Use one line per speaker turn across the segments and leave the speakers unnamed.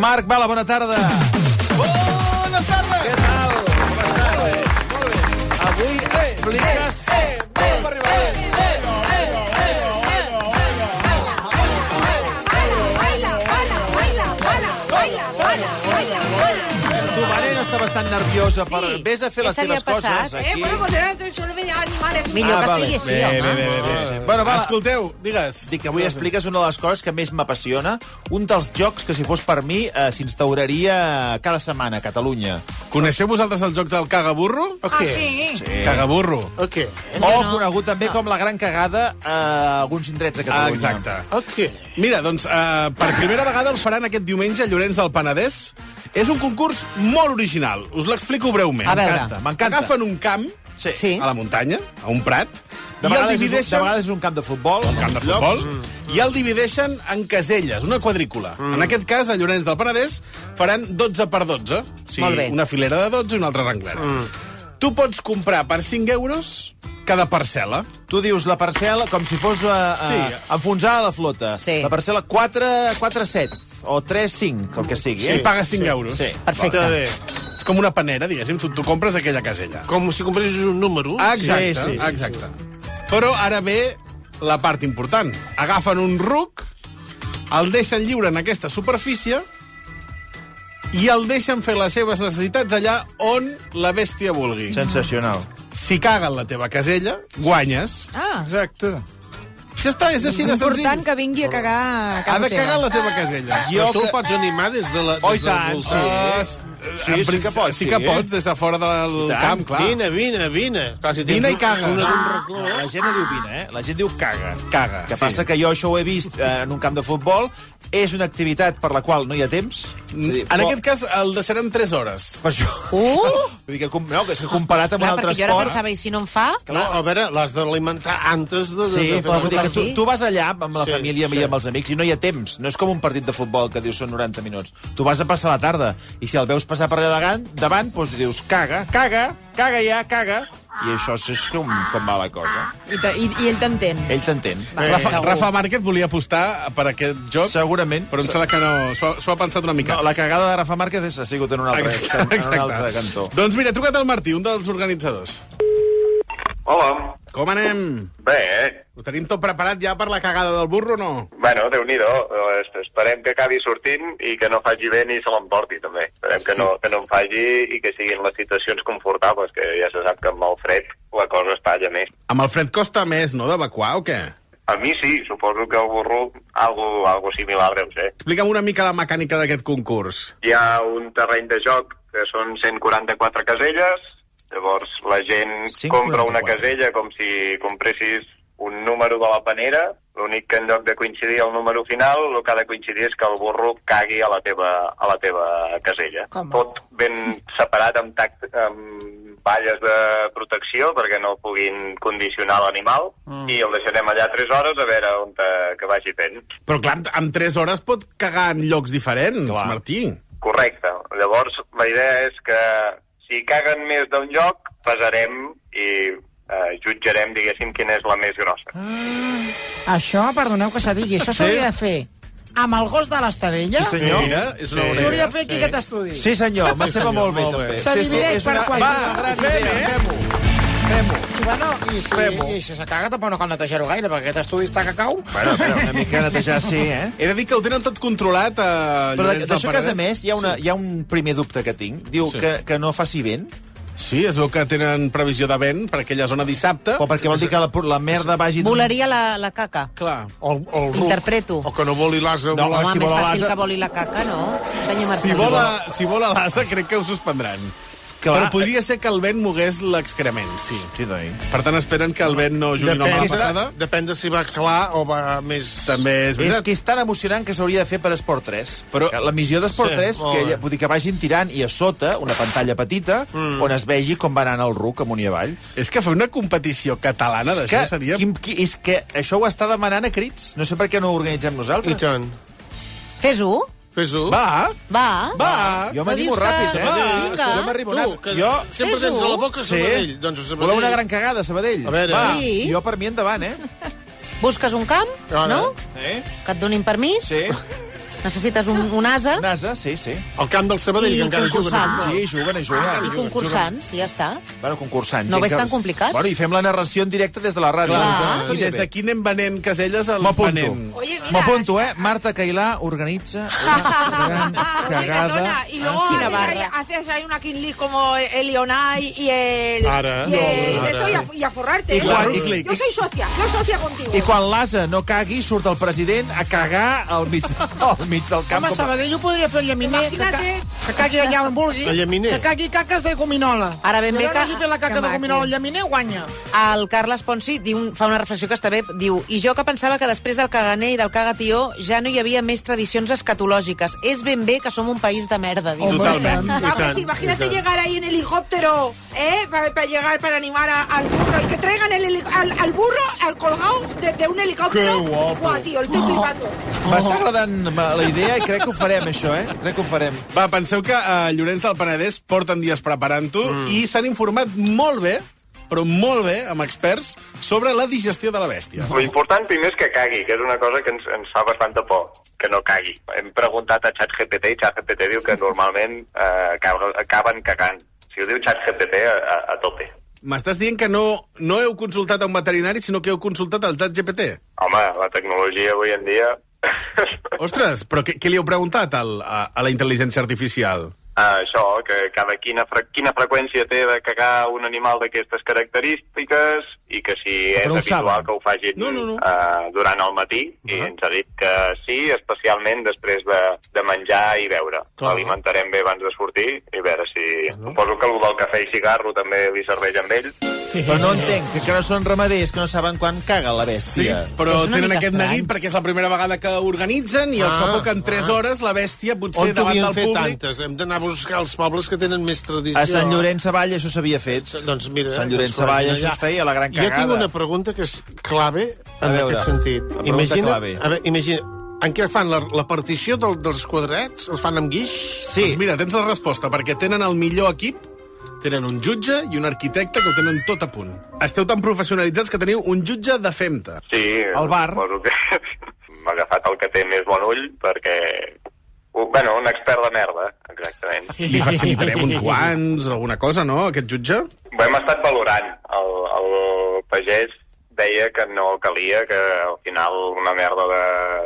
Marc Bala, bona tarda.
Bones tardes! Què tal? Bones tardes. Molt bé.
Avui expliques...
Eh, vam arribar bé.
Tu, Manent, està bastant nerviosa per...
eh, Sí,
Vés a fer
què
les
se li
teves
ha passat? eh?
coses aquí.
Millor que
vale.
estigui així,
Bé,
home.
bé, bé, bé. Sí. Bueno, va,
Escolteu, digues.
Dic que avui expliques una de les coses que més m'apassiona, un dels jocs que, si fos per mi, eh, s'instauraria cada setmana a Catalunya.
Coneixeu vosaltres el joc del cagaburro?
Ah, sí?
Sí.
Cagaburro.
Ok,
Eh,
O conegut també com la gran cagada a alguns indrets de
Ah,
Catalunya.
exacte.
ok.
Mira, doncs, eh, per primera vegada el faran aquest diumenge a Llorenç del Penedès. És un concurs molt original. Us l'explico breument.
A veure.
M'encanta,
M'encanta.
Agafen un camp
Sí.
Sí.
a la muntanya, a un prat,
De
i el
vegades, és un, de
divideixen...
vegades és un camp de futbol.
un camp de futbol, i el divideixen en caselles, una quadrícula. En aquest cas, a Llorenç del Penedès, faran 12 per 12. O sigui,
Molt bé.
una filera de 12 i una altra renglera. Mm. Tu pots comprar per 5 euros cada parcel·la.
Tu dius la parcel·la com si fos a, a,
Sí.
enfonsar a la flota.
Sí.
La parcel·la 4-7 o 3-5, el que sigui.
Sí. I
Eh?
pagues 5 euros.
Sí.
Perfecte.
Està bé.
És com una panera, diguéssim. Tu, tu compres aquella casella.
Com si compressis un número.
Ah, Exacte,
Sí,
sí,
sí,
sí,
sí,
exacte. Però ara ve la part important. Agafen un ruc, el deixen lliure en aquesta superfície i el deixen fer les seves necessitats allà on la bèstia vulgui.
Sensacional.
Si caga en la teva casella, guanyes.
Ah,
Exacte.
Ja està, és així
és
de
important
senzill.
que vingui a cagar a
Ha
casa
de cagar en
teva.
la teva casella.
Però tu el pots animar des de la...
Oh, i
des del
tant,
balcó.
sí.
Ah,
Sí,
en
sí
principi-
que pots,
Sí que
sí.
pots, des de fora del
tant.
camp, clar.
Vine, vine, vine. Clar, si tens
Vine i
un-
caga.
Una d'un racó...
La gent no diu vina, eh? La gent diu caga.
Caga,
Que
sí.
passa que jo això ho he vist eh, en un camp de futbol. És una activitat per la qual no hi ha temps. És a dir,
En
bo-
aquest cas el deixarem 3 hores.
Per això... Uh! Vull dir que, com- no, que és que comparat amb
Clar,
un altre
perquè jo ara
esport...
pensava, i si no em fa?
Clar, Ah, a veure, l'has d'alimentar antes de... de,
Sí,
de fer
però vull dir que tu,
sí.
tu vas allà amb la
Sí,
família i
sí.
amb els amics i no hi ha temps. No és com un partit de futbol que dius són 90 minuts. Tu vas a passar la tarda i si el veus passar per allà davant, davant doncs dius caga, caga, caga ja, caga. I això és com, com va la cosa.
I, te- i, i ell t'entén.
Ell t'entén.
Rafa, Rafa Márquez volia apostar per aquest joc,
Segurament.
però em sembla que no. S'ho ha- s'ho ha pensat una mica.
No, la cagada de Rafa Márquez és- ha sigut en un altre, en un altre cantó.
Doncs mira, ha trucat el Martí, un dels organitzadors.
Hola.
Com anem?
Bé, eh?
Ho tenim tot preparat ja per la cagada del burro o no?
bueno, déu nhi Esperem que acabi sortint i que no faci bé ni se l'emporti, també. Esperem que no, que no en faci i que siguin les situacions confortables, que ja se sap que amb el fred la cosa es talla més.
Amb el fred costa més, no?, d'evacuar o què?
A mi sí, suposo que el burro algo, algo similar deu ser.
Explica'm una mica la mecànica d'aquest concurs.
Hi ha un terreny de joc que són 144 caselles, llavors la gent
144.
compra una casella com si compressis un número de la panera, l'únic que en lloc de coincidir el número final, el que ha de coincidir és que el burro cagui a la teva, a la teva casella.
Com?
Tot ben separat amb, tact, amb valles de protecció perquè no puguin condicionar l'animal mm. i el deixarem allà 3 hores a veure on te, que vagi fent.
Però clar, amb- amb 3 hores pot cagar en llocs diferents, clar.
Clar.
Martí.
Correcte. Llavors, la idea és que si caguen més d'un lloc, pesarem i eh, jutjarem, diguéssim, quina és la més grossa.
Això, perdoneu que se digui, això s'hauria de fer amb el gos de l'estadella?
Sí, senyor.
Mira, és una bona
S'hauria
idea.
de fer aquí aquest estudi.
Sí, senyor, me sembla molt bé,
Molt bé.
també.
Se
Sí, sí,
divideix
és
per
una...
quants?
Va,
eh?
gran idea, fem-ho. Fem-ho.
I, bueno, i
Fem-ho.
si, i si se caga tampoc no cal netejar-ho gaire, perquè aquest estudi està que cau.
Bueno, però una mica netejar sí, eh?
He de dir que ho tenen tot controlat a
Però
Llorenç del
d'això que, a
Penedès.
més, hi ha, una, hi ha un primer dubte que tinc. Diu
Sí.
sí. que, que no faci vent,
Sí, es veu que tenen previsió de vent per aquella zona dissabte.
però perquè vol dir que la, la merda vagi... d'un-
Volaria la, la caca.
Clar.
O, el- o el ruc.
Interpreto.
O que no voli l'asa.
No,
volar.
home,
Home,
si
més
vola
fàcil
l'asa-
que voli la caca, no? Senyor Martí.
Si vola, si vola l'asa, crec que ho suspendran.
Clar.
Però podria ser que el vent mogués l'excrement, sí.
Sí, noi.
Per tant, esperen que el vent no jugui una mala passada.
de, depèn de si va clar o va més...
També és
És
veritat.
que és tan emocionant que s'hauria de fer per Esport 3.
Però-
Però... L'emissió d'Esport
Sí,
3,
molt
que,
bé.
ja- vull dir que vagin tirant i a sota, una pantalla petita, mm. on es vegi com va anant el ruc amunt i avall.
És que fer una competició catalana d'això
Que,
seria...
quin, qui, és que això ho està demanant a crits. No sé per què no ho organitzem
I
nosaltres.
tant.
Fes-ho.
Fes-ho.
Va,
Va.
va!
Jo
No
m'animo
dius que-
ràpid, eh?
Va, vinga.
Jo m'arribo
Tu,
anant.
que
Jo...
sempre
Fes-ho.
tens a la boca
Sí.
Sabadell. Doncs a Sabadell.
Voleu una gran cagada, Sabadell?
A veure.
Va,
Sí.
jo per mi endavant, eh?
Busques un camp,
Ara.
no?
Eh?
Que et donin permís.
Sí.
Necessites un, un asa
Nasa, sí, sí.
Al camp del Sabadell,
I
que encara juguen.
concursant.
a
Sí, juguen a
Ah,
jugar.
i concursants, i ja està.
Bueno, concursant.
No
gent
veig
que-
tan complicat.
Bueno, i fem la narració en directe des de la ràdio. eh?
Clar. Ah,
Estaria
I des
Ah, bé.
d'aquí anem venent caselles al
M'apunto.
venent.
Oye, mira,
M'apunto, eh? Marta Cailà organitza una gran cagada.
Perdona, y luego
Ah, sí, la
haces, ahí,
barra.
haces ahí una King League como eh, el Ionai y eh, el...
Ara,
y el-
no,
esto,
ara.
y, a, y a forrarte.
Y
¿eh?
claro,
y-
yo soy socia, yo socia contigo.
I quan l'asa no cagui, surt el president a cagar al mig, al mig del camp.
Home, Sabadell ho podria fer el llaminer, que, ca...
Imagina't.
que cagui allà on vulgui.
El llaminer.
Que cagui caques de gominola.
Ara ben bé
Llavors,
que-
si té la
que
caca de
maco.
gominola el llaminer, guanya.
El Carles Ponsi diu, fa una reflexió que està bé, diu i jo que pensava que després del caganer i del cagatió ja no hi havia més tradicions escatològiques. És ben bé que som un país de merda, diu.
Home, i
Totalment.
tant.
Vamos,
Y tan,
imagínate
y tan.
llegar ahí en helicóptero, ¿eh? Para, llegar, para animar a- al burro. Y que traigan el heli- al, al burro, al colgado desde un helicóptero.
Qué guapo.
Buah, tío, estoy flipando.
M'està agradant la idea i crec que ho farem, això, eh? Crec que ho farem.
Va, penseu que a Llorenç del Penedès porten dies preparant-ho mm. i s'han informat molt bé, però molt bé, amb experts, sobre la digestió de la bèstia.
Lo important primer és que cagui, que és una cosa que ens, ens fa bastanta por, que no cagui. Hem preguntat a ChatGPT i ChatGPT diu que normalment eh, acaben, acaben cagant. Si ho diu ChatGPT, a, a, a tope.
M'estàs dient que no, no heu consultat a un veterinari, sinó que heu consultat al chat GPT?
Home, la tecnologia avui en dia...
Ostres, però què, què li heu preguntat al, a, a la intel·ligència artificial?
Ah, això, que cada quina, fre quina freqüència té de cagar un animal d'aquestes característiques i que si és
Però ho
habitual
saben.
que ho facin
No, no, no.
eh, durant el matí i ens ha dit que sí, especialment després de, de menjar i beure.
Clar.
L'alimentarem bé abans de sortir i a veure si... Suposo que el del cafè i cigarro també li serveix amb ell.
Però no entenc, que, que no són ramaders, que no saben quan caga la bèstia.
però
És una
tenen
mica
aquest
estrany.
neguit perquè és la primera vegada que organitzen i els
Ah,
fa poc en 3 hores la bèstia potser
On
davant
t'havien
del
fet
públic...
tantes? Hem d'anar a buscar els pobles que tenen més tradició.
A Sant Llorenç Savall això s'havia fet.
Doncs mira,
Sant Llorenç
doncs com
Savall
allà.
això es feia a la gran cagada.
Jo tinc una pregunta que és clave
A
en
veure,
aquest sentit.
la pregunta clave.
a veure, imagina, en què fan? La, la partició del, dels quadrats? Els fan amb guix?
Sí,
Doncs mira, tens la resposta, perquè tenen el millor equip, tenen un jutge i un arquitecte que ho tenen tot a punt. Esteu tan professionalitzats que teniu un jutge de femta.
Sí,
Al bar.
suposo que m'ha agafat el que té més bon ull perquè... u- Bueno, un expert de merda, exactament.
Li facilitareu uns guants, alguna cosa, no, aquest jutge?
Ho hem estat valorant. El, el pagès deia que no calia, que al final una merda de,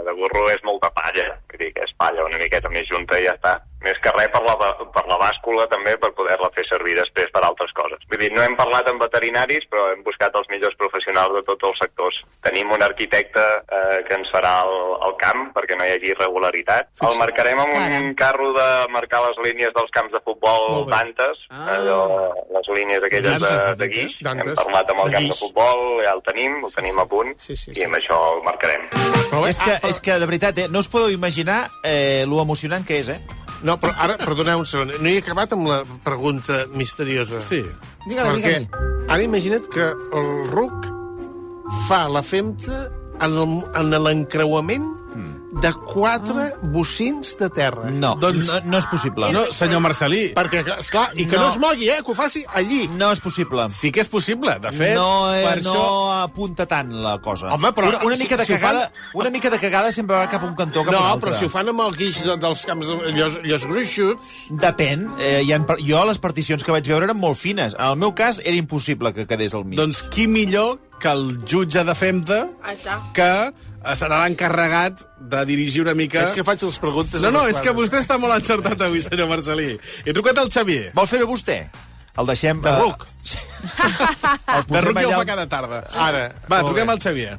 de burro és molta palla. Vull dir que és palla una miqueta més junta i ja està. Més que res per la, ba- per la bàscula també, per poder-la fer servir després per altres coses. Vull dir, no hem parlat amb veterinaris, però hem buscat els millors professionals de tots els sectors. Tenim un arquitecte eh, que ens farà el, el camp perquè no hi hagi irregularitat. El marcarem amb un
Caram.
carro de marcar les línies dels camps de futbol d'antes,
Ah.
allò les línies aquelles de,
Dantes,
de
Dantes.
guix. Hem
Dantes.
parlat amb el
De
camp de
guix.
futbol, ja el tenim, el tenim a punt,
Sí, sí,
i
sí.
amb això ho marcarem.
Ah, Però,
és que, és que de veritat, eh, no us podeu imaginar eh, lo emocionant que és, eh?
No, però ara, perdoneu un segon, no he acabat amb la pregunta misteriosa.
Sí.
Digue-la,
Perquè
digue-li.
ara imagina't que el ruc fa la femta en el- en l'encreuament de quatre bocins de terra.
No,
Doncs-
no, no és possible.
No, senyor Marcelí,
Perquè, esclar, i que no,
No.
no es mogui, eh, que ho faci allí.
No és possible.
sí que és possible. De fet,
no, eh,
per
no
això...
apunta tant la cosa.
Home, però
una, una,
si-
mica de
si ho
cagada, una mica de cagada sempre va cap a un cantó cap a
No,
un altre.
però si ho fan amb el guix de- dels camps allò, allò és gruixut,
Depèn. Eh, hi ha, per- jo les particions que vaig veure eren molt fines. En el meu cas era impossible que quedés al mig.
Doncs qui millor que el jutge de femta
Ahí está.
que eh, serà l'encarregat de dirigir una mica...
és que faig les preguntes...
No, no, és que
adequades.
vostè està molt encertat avui, senyor Marcelí. He trucat al Xavier.
Vol fer-ho vostè? El deixem... eh, De
ruc.
El
De
posem
Ruc ja ho
allà...
fa cada tarda.
Ara.
Va,
Molt
truquem
bé.
al Xavier.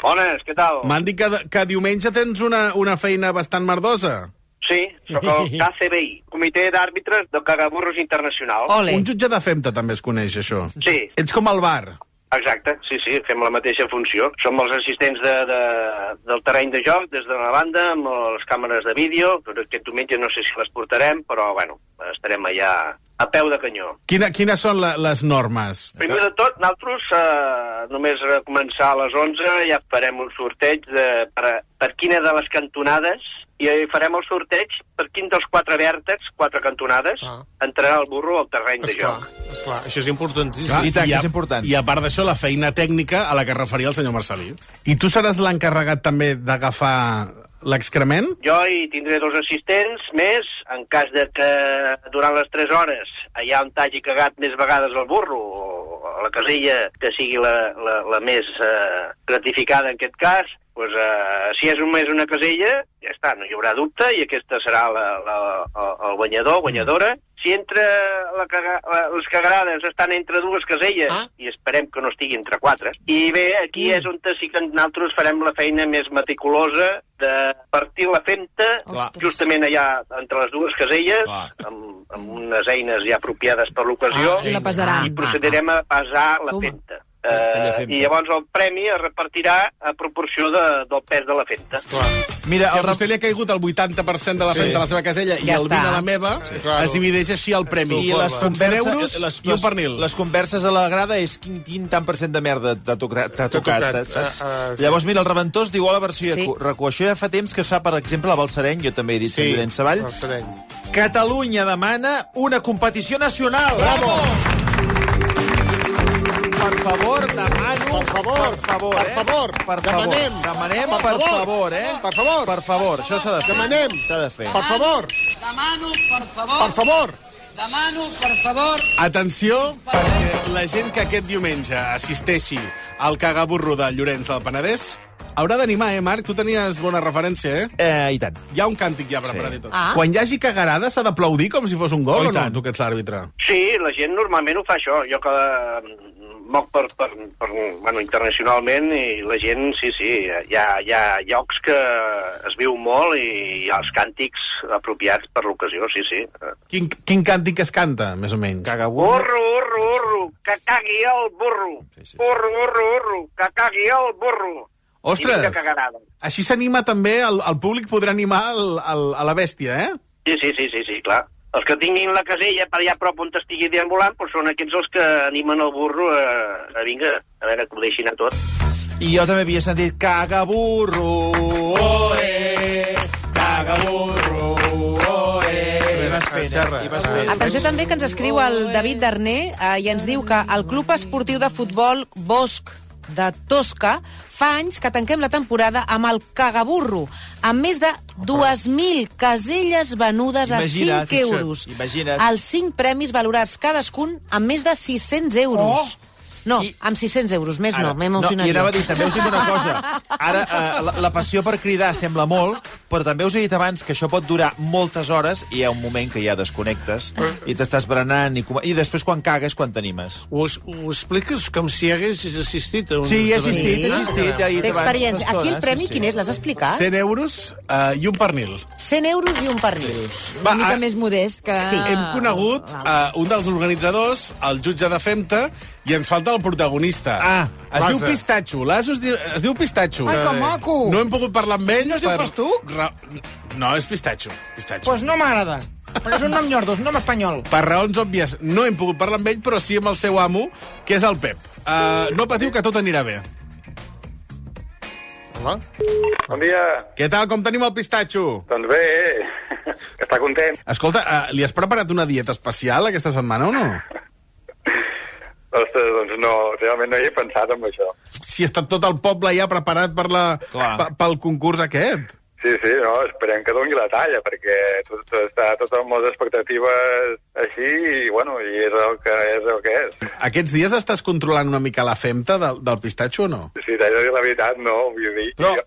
Bones, què tal?
M'han dit que, que diumenge tens una, una feina bastant merdosa.
Sí, sóc el KCBI, Comitè d'Àrbitres del Cagaburros Internacional.
Oh.
Ole.
Un jutge de femta també es coneix, això.
Sí,
Ets com el bar.
exacte, sí, sí, fem la mateixa funció. Som els assistents de, de, del terreny de joc, des de la banda, amb les càmeres de vídeo, però aquest diumenge no sé si les portarem, però, bueno, estarem allà a peu de canyó.
Quina, quines són la, les normes?
Primer de tot, nosaltres, eh, només a començar a les 11, ja farem un sorteig de, per, a- per quina de les cantonades, i eh, farem el sorteig per quin dels quatre vèrtexs, quatre cantonades,
Ah.
entrarà el burro al terreny de
Esclar,
joc.
esclar, això és importantíssim.
I tant,
a-
que és important.
I a part d'això, la feina tècnica a la que es referia el senyor Marcelí. I tu seràs l'encarregat també d'agafar l'excrement?
Jo hi tindré dos assistents més, en cas de que durant les 3 hores hi ha un t'hagi cagat més vegades el burro, o la casella que sigui la, la, la més eh, gratificada en aquest cas, doncs, eh, si és només una casella, ja està, no hi haurà dubte, i aquesta serà la, la, la, el
Mm.
guanyador, guanyadora. Si entre la caga, la, les cagarades estan entre dues caselles,
Ah.
i esperem que no estigui entre quatre. I bé, aquí
Mm.
és on sí que nosaltres farem la feina més meticulosa de partir la femta
Clar.
justament allà entre les dues caselles,
Clar. Ah,
amb, amb unes eines ja apropiades per l'ocasió,
I la pesarà.
i procedirem a pesar la
Toma.
femta.
Talla
Uh,
femta.
I llavors el premi es repartirà a proporció de, del pes de la femta.
Mira,
Si a
el
vostè
rep...
li ha caigut el 80% de la
Sí.
femta sí. a la seva casella i
Ja
el 20 a
està.
la meva, sí,
claro.
es divideix així el premi.
I les
Són 100
converses,
euros
les,
i un pernil.
les converses a la grada és quin, quin tant per cent de merda t'ha tocat, t'ha tocat,
tocat,
saps?
eh,
ah, ah, sí.
Llavors, mira, el Reventós diu, hola, versió
Sí.
sí. Això ja fa temps que es fa, per exemple, a Balsareny, jo també he dit sí. Sant Savall.
el sereny.
Catalunya demana una competició nacional. Bravo! Per favor, demano...
Per favor,
per favor,
per
eh?
favor,
per favor.
demanem,
demanem
per
per,
favor,
favor, eh?
per favor.
Per favor, això s'ha de fer.
Demanem.
S'ha de fer.
Per favor,
Demano, per favor,
per favor.
demano, per favor,
Atenció, perquè la gent que aquest diumenge assisteixi al cagaburro de Llorenç del Penedès haurà d'animar, eh, Marc? Tu tenies bona referència, eh?
Eh, I tant.
Hi ha un càntic ja preparat i tot.
Ah.
Quan hi hagi cagarada s'ha d'aplaudir com si fos un gol
Oh, i
o no?
tant.
Tu que ets l'àrbitre.
Sí, la gent normalment ho fa això. Jo que eh, moc per, per, per, bueno, internacionalment i la gent, sí, sí, hi ha, hi ha llocs que es viu molt i hi ha els càntics apropiats per l'ocasió, sí, sí.
Quin, quin càntic es canta, més o menys?
Cagabur.
Burro, burro, burro, que cagui el burro.
Sí, sí.
Burro, burro, burro, que cagui el burro. I mica
Ostres!
cagarada.
Així s'anima també, el, el públic podrà animar el, el, a la bèstia, eh?
Sí, sí, sí, sí, sí, clar. Els que tinguin la casella per allà a prop on estigui deambulant, doncs són aquests els que animen el burro a, a vinga, a veure que ho deixin a tot.
I jo també havia sentit cagaburro, oe, cagaburro, oe. I vas fent, eh? I vas fent.
Atenció també que ens escriu el David Darner eh, i ens diu que el Club Esportiu de Futbol Bosch de Tosca fa anys que tanquem la temporada amb el cagaburro, amb més de 2.000 caselles venudes
Imagina't,
a 5
fixa't,
euros.
imagina't.
Els 5 premis valorats cadascun amb més de 600 euros. No,
Oh! I-
amb 600 euros, més no, m'he emocionat.
I
jo.
anava a dir, també us dic una cosa. Ara, eh, la, la passió per cridar sembla molt, però també us he dit abans que això pot durar moltes hores i hi ha un moment que ja desconnectes i t'estàs berenant i, com- i després quan cagues, quan t'animes.
Ho, es- ho expliques com si haguessis assistit a un...
Sí, he assistit, he
Sí.
assistit. Ja he dit
Té
abans,
experiència.
una
Aquí el
estona,
premi,
sí, sí.
quin és? L'has explicat?
100 euros eh, i un pernil.
100 euros i un pernil.
Una mica
a-
més modest que...
Sí.
Hem
Ah,
conegut uh, un dels organitzadors, el jutge de Femta, i ens falta el protagonista.
Ah,
es diu
passa.
Pistatxo, l'as es, diu- es diu Pistatxo.
Ai, que maco!
No hem pogut parlar amb ell.
No es diu Festuc?
Ra... No, és Pistatxo. Pistatxo.
Pues no m'agrada. Perquè és un nom nyordo, és un nom espanyol.
Per raons òbvies, no hem pogut parlar amb ell, però sí amb el seu amo, que és el Pep. Uh, no patiu, que tot anirà bé.
Hola?
Bon dia.
Què tal, com tenim el Pistatxo?
Doncs bé, eh? està content.
Escolta, uh, li has preparat una dieta especial aquesta setmana o no?
Ostres, doncs no, realment no hi he pensat amb això.
Si està tot el poble ja preparat per la,
Clar.
pe- pel concurs aquest.
Sí, sí, no, esperem que doni la talla, perquè tot, tot, està tot amb moltes expectatives així i, bueno, i és el que és. El que és.
Aquests dies estàs controlant una mica la femta del, del pistatxo o no?
Si t'he de dir la veritat, no, vull dir...
Però-
Jo,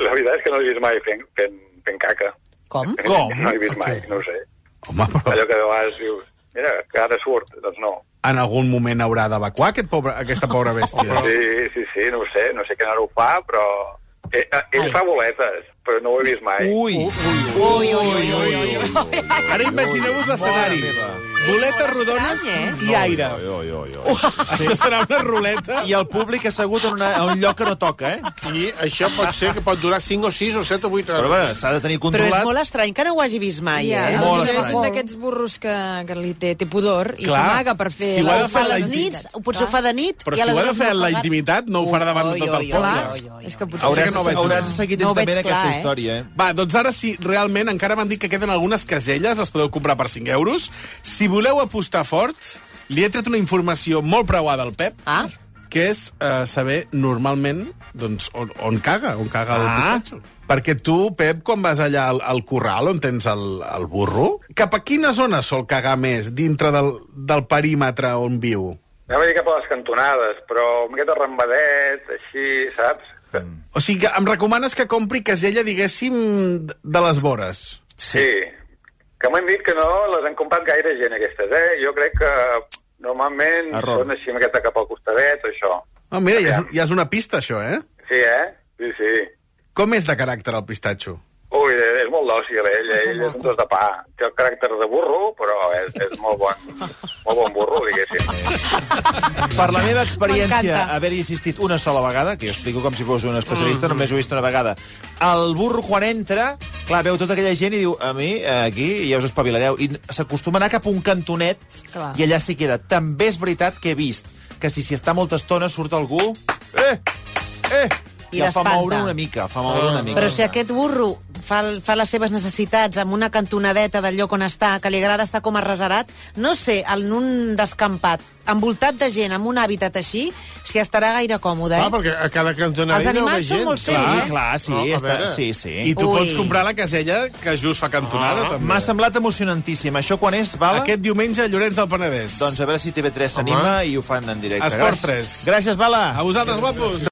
jo, la veritat és que no l'he vist mai fent, fent, fent caca.
Com?
Com?
No l'he vist mai, no ho sé.
Home, però
Allò que de vegades dius, mira, que ara surt, doncs no.
en algun moment haurà d'evacuar aquest pobre, aquesta pobra bèstia.
Sí, sí, sí, no ho sé, no sé quina hora ho fa, però... Eh, eh, ell fa boletes, però no ho he vist mai.
Ui,
Ui, ui, ui, ui, ui.
Ara imagineu-vos l'escenari. Boletes rodones
estrany, eh?
i aire. Això serà una ruleta.
i el públic assegut en, una, en un lloc que no toca, eh?
I això pot ser que pot durar 5 o 6 o 7 o 8
Però
hores.
bé, s'ha de tenir
Però és
controlat.
molt estrany que no ho hagi vist mai,
Ja,
eh?
eh?
Molt
Potser és
estrany.
un d'aquests burros que, que li té, té pudor i
Clar.
s'amaga per fer...
Si ho
Ho
ha
les-
de fer a
fa a
la
les nits,
intimitat.
o potser ho fa de nit...
Però
i
si ho ha de
aleshores
fer en
no
la
pagat.
intimitat, no ho farà davant
Ui,
de
ui,
tot
ui,
el
ui,
poble.
ui, ui.
És que potser
Hauràs-
sí que no ho vaig
Hauràs
veure.
seguit
No ho veig
intentament
clar,
aquesta
eh?
història, eh?
Va, doncs ara sí, realment, encara m'han dit que queden algunes caselles, les podeu comprar per 5 euros. Si voleu apostar fort, li he tret una informació molt preuada al Pep.
Ah,
que és eh, saber normalment doncs, on, on caga, on caga el
Ah.
pistatxo. Perquè tu, Pep, quan vas allà al, al corral on tens el, el burro, cap a quina zona sol cagar més dintre del, del perímetre on viu?
Anava a dir cap a les cantonades, però una miqueta rambadet, així, saps? Mm.
O sigui, que em recomanes que compri casella, diguéssim, de les vores.
Sí. Que m'han dit que no les han comprat gaire gent, aquestes, eh? Jo crec que normalment
Error.
són així una miqueta cap al costadet, això.
Oh, mira, ja és, ja és una pista, això, eh?
Sí, eh? Sí, sí.
Com és de caràcter el pistatxo?
Ui, és molt dòcil, eh? ell, ell és un dos de pa. Té el caràcter de burro, però és, és molt bon, molt bon burro, diguéssim.
Per la meva experiència,
M'encanta.
haver-hi assistit una sola vegada, que jo explico com si fos un especialista, mm -hmm. només ho he vist una vegada, el burro quan entra, clar, veu tota aquella gent i diu, a mi, eh, aquí, ja us espavilareu. I s'acostuma a anar cap a un cantonet
Ah.
Clar.
i allà s'hi queda. També és veritat que he vist que si s'hi està molta estona surt algú... Eh! Eh!
I
ja fa
l'espanta.
moure una mica, fa moure
Ah.
una mica.
Però si aquest burro fa, el- fa les seves necessitats amb una cantonadeta del lloc on està, que li agrada estar com a reserat, no sé, en un descampat, envoltat de gent, amb un hàbitat així, si estarà gaire còmode, eh?
Ah, perquè a cada cantonada
Els
hi deu
animals
haver
són
gent.
molt seus, Clar, eh?
clar, sí,
a
està-
veure.
sí, sí.
I tu
Ui.
pots comprar la casella que just fa cantonada,
Ah,
també.
M'ha semblat emocionantíssim. Això quan és, val?
Aquest diumenge a Llorenç del Penedès.
Doncs a veure si TV3 s'anima i ho fan en directe.
Esport
Gràcies.
3.
Gràcies, Bala.
A vosaltres, guapos.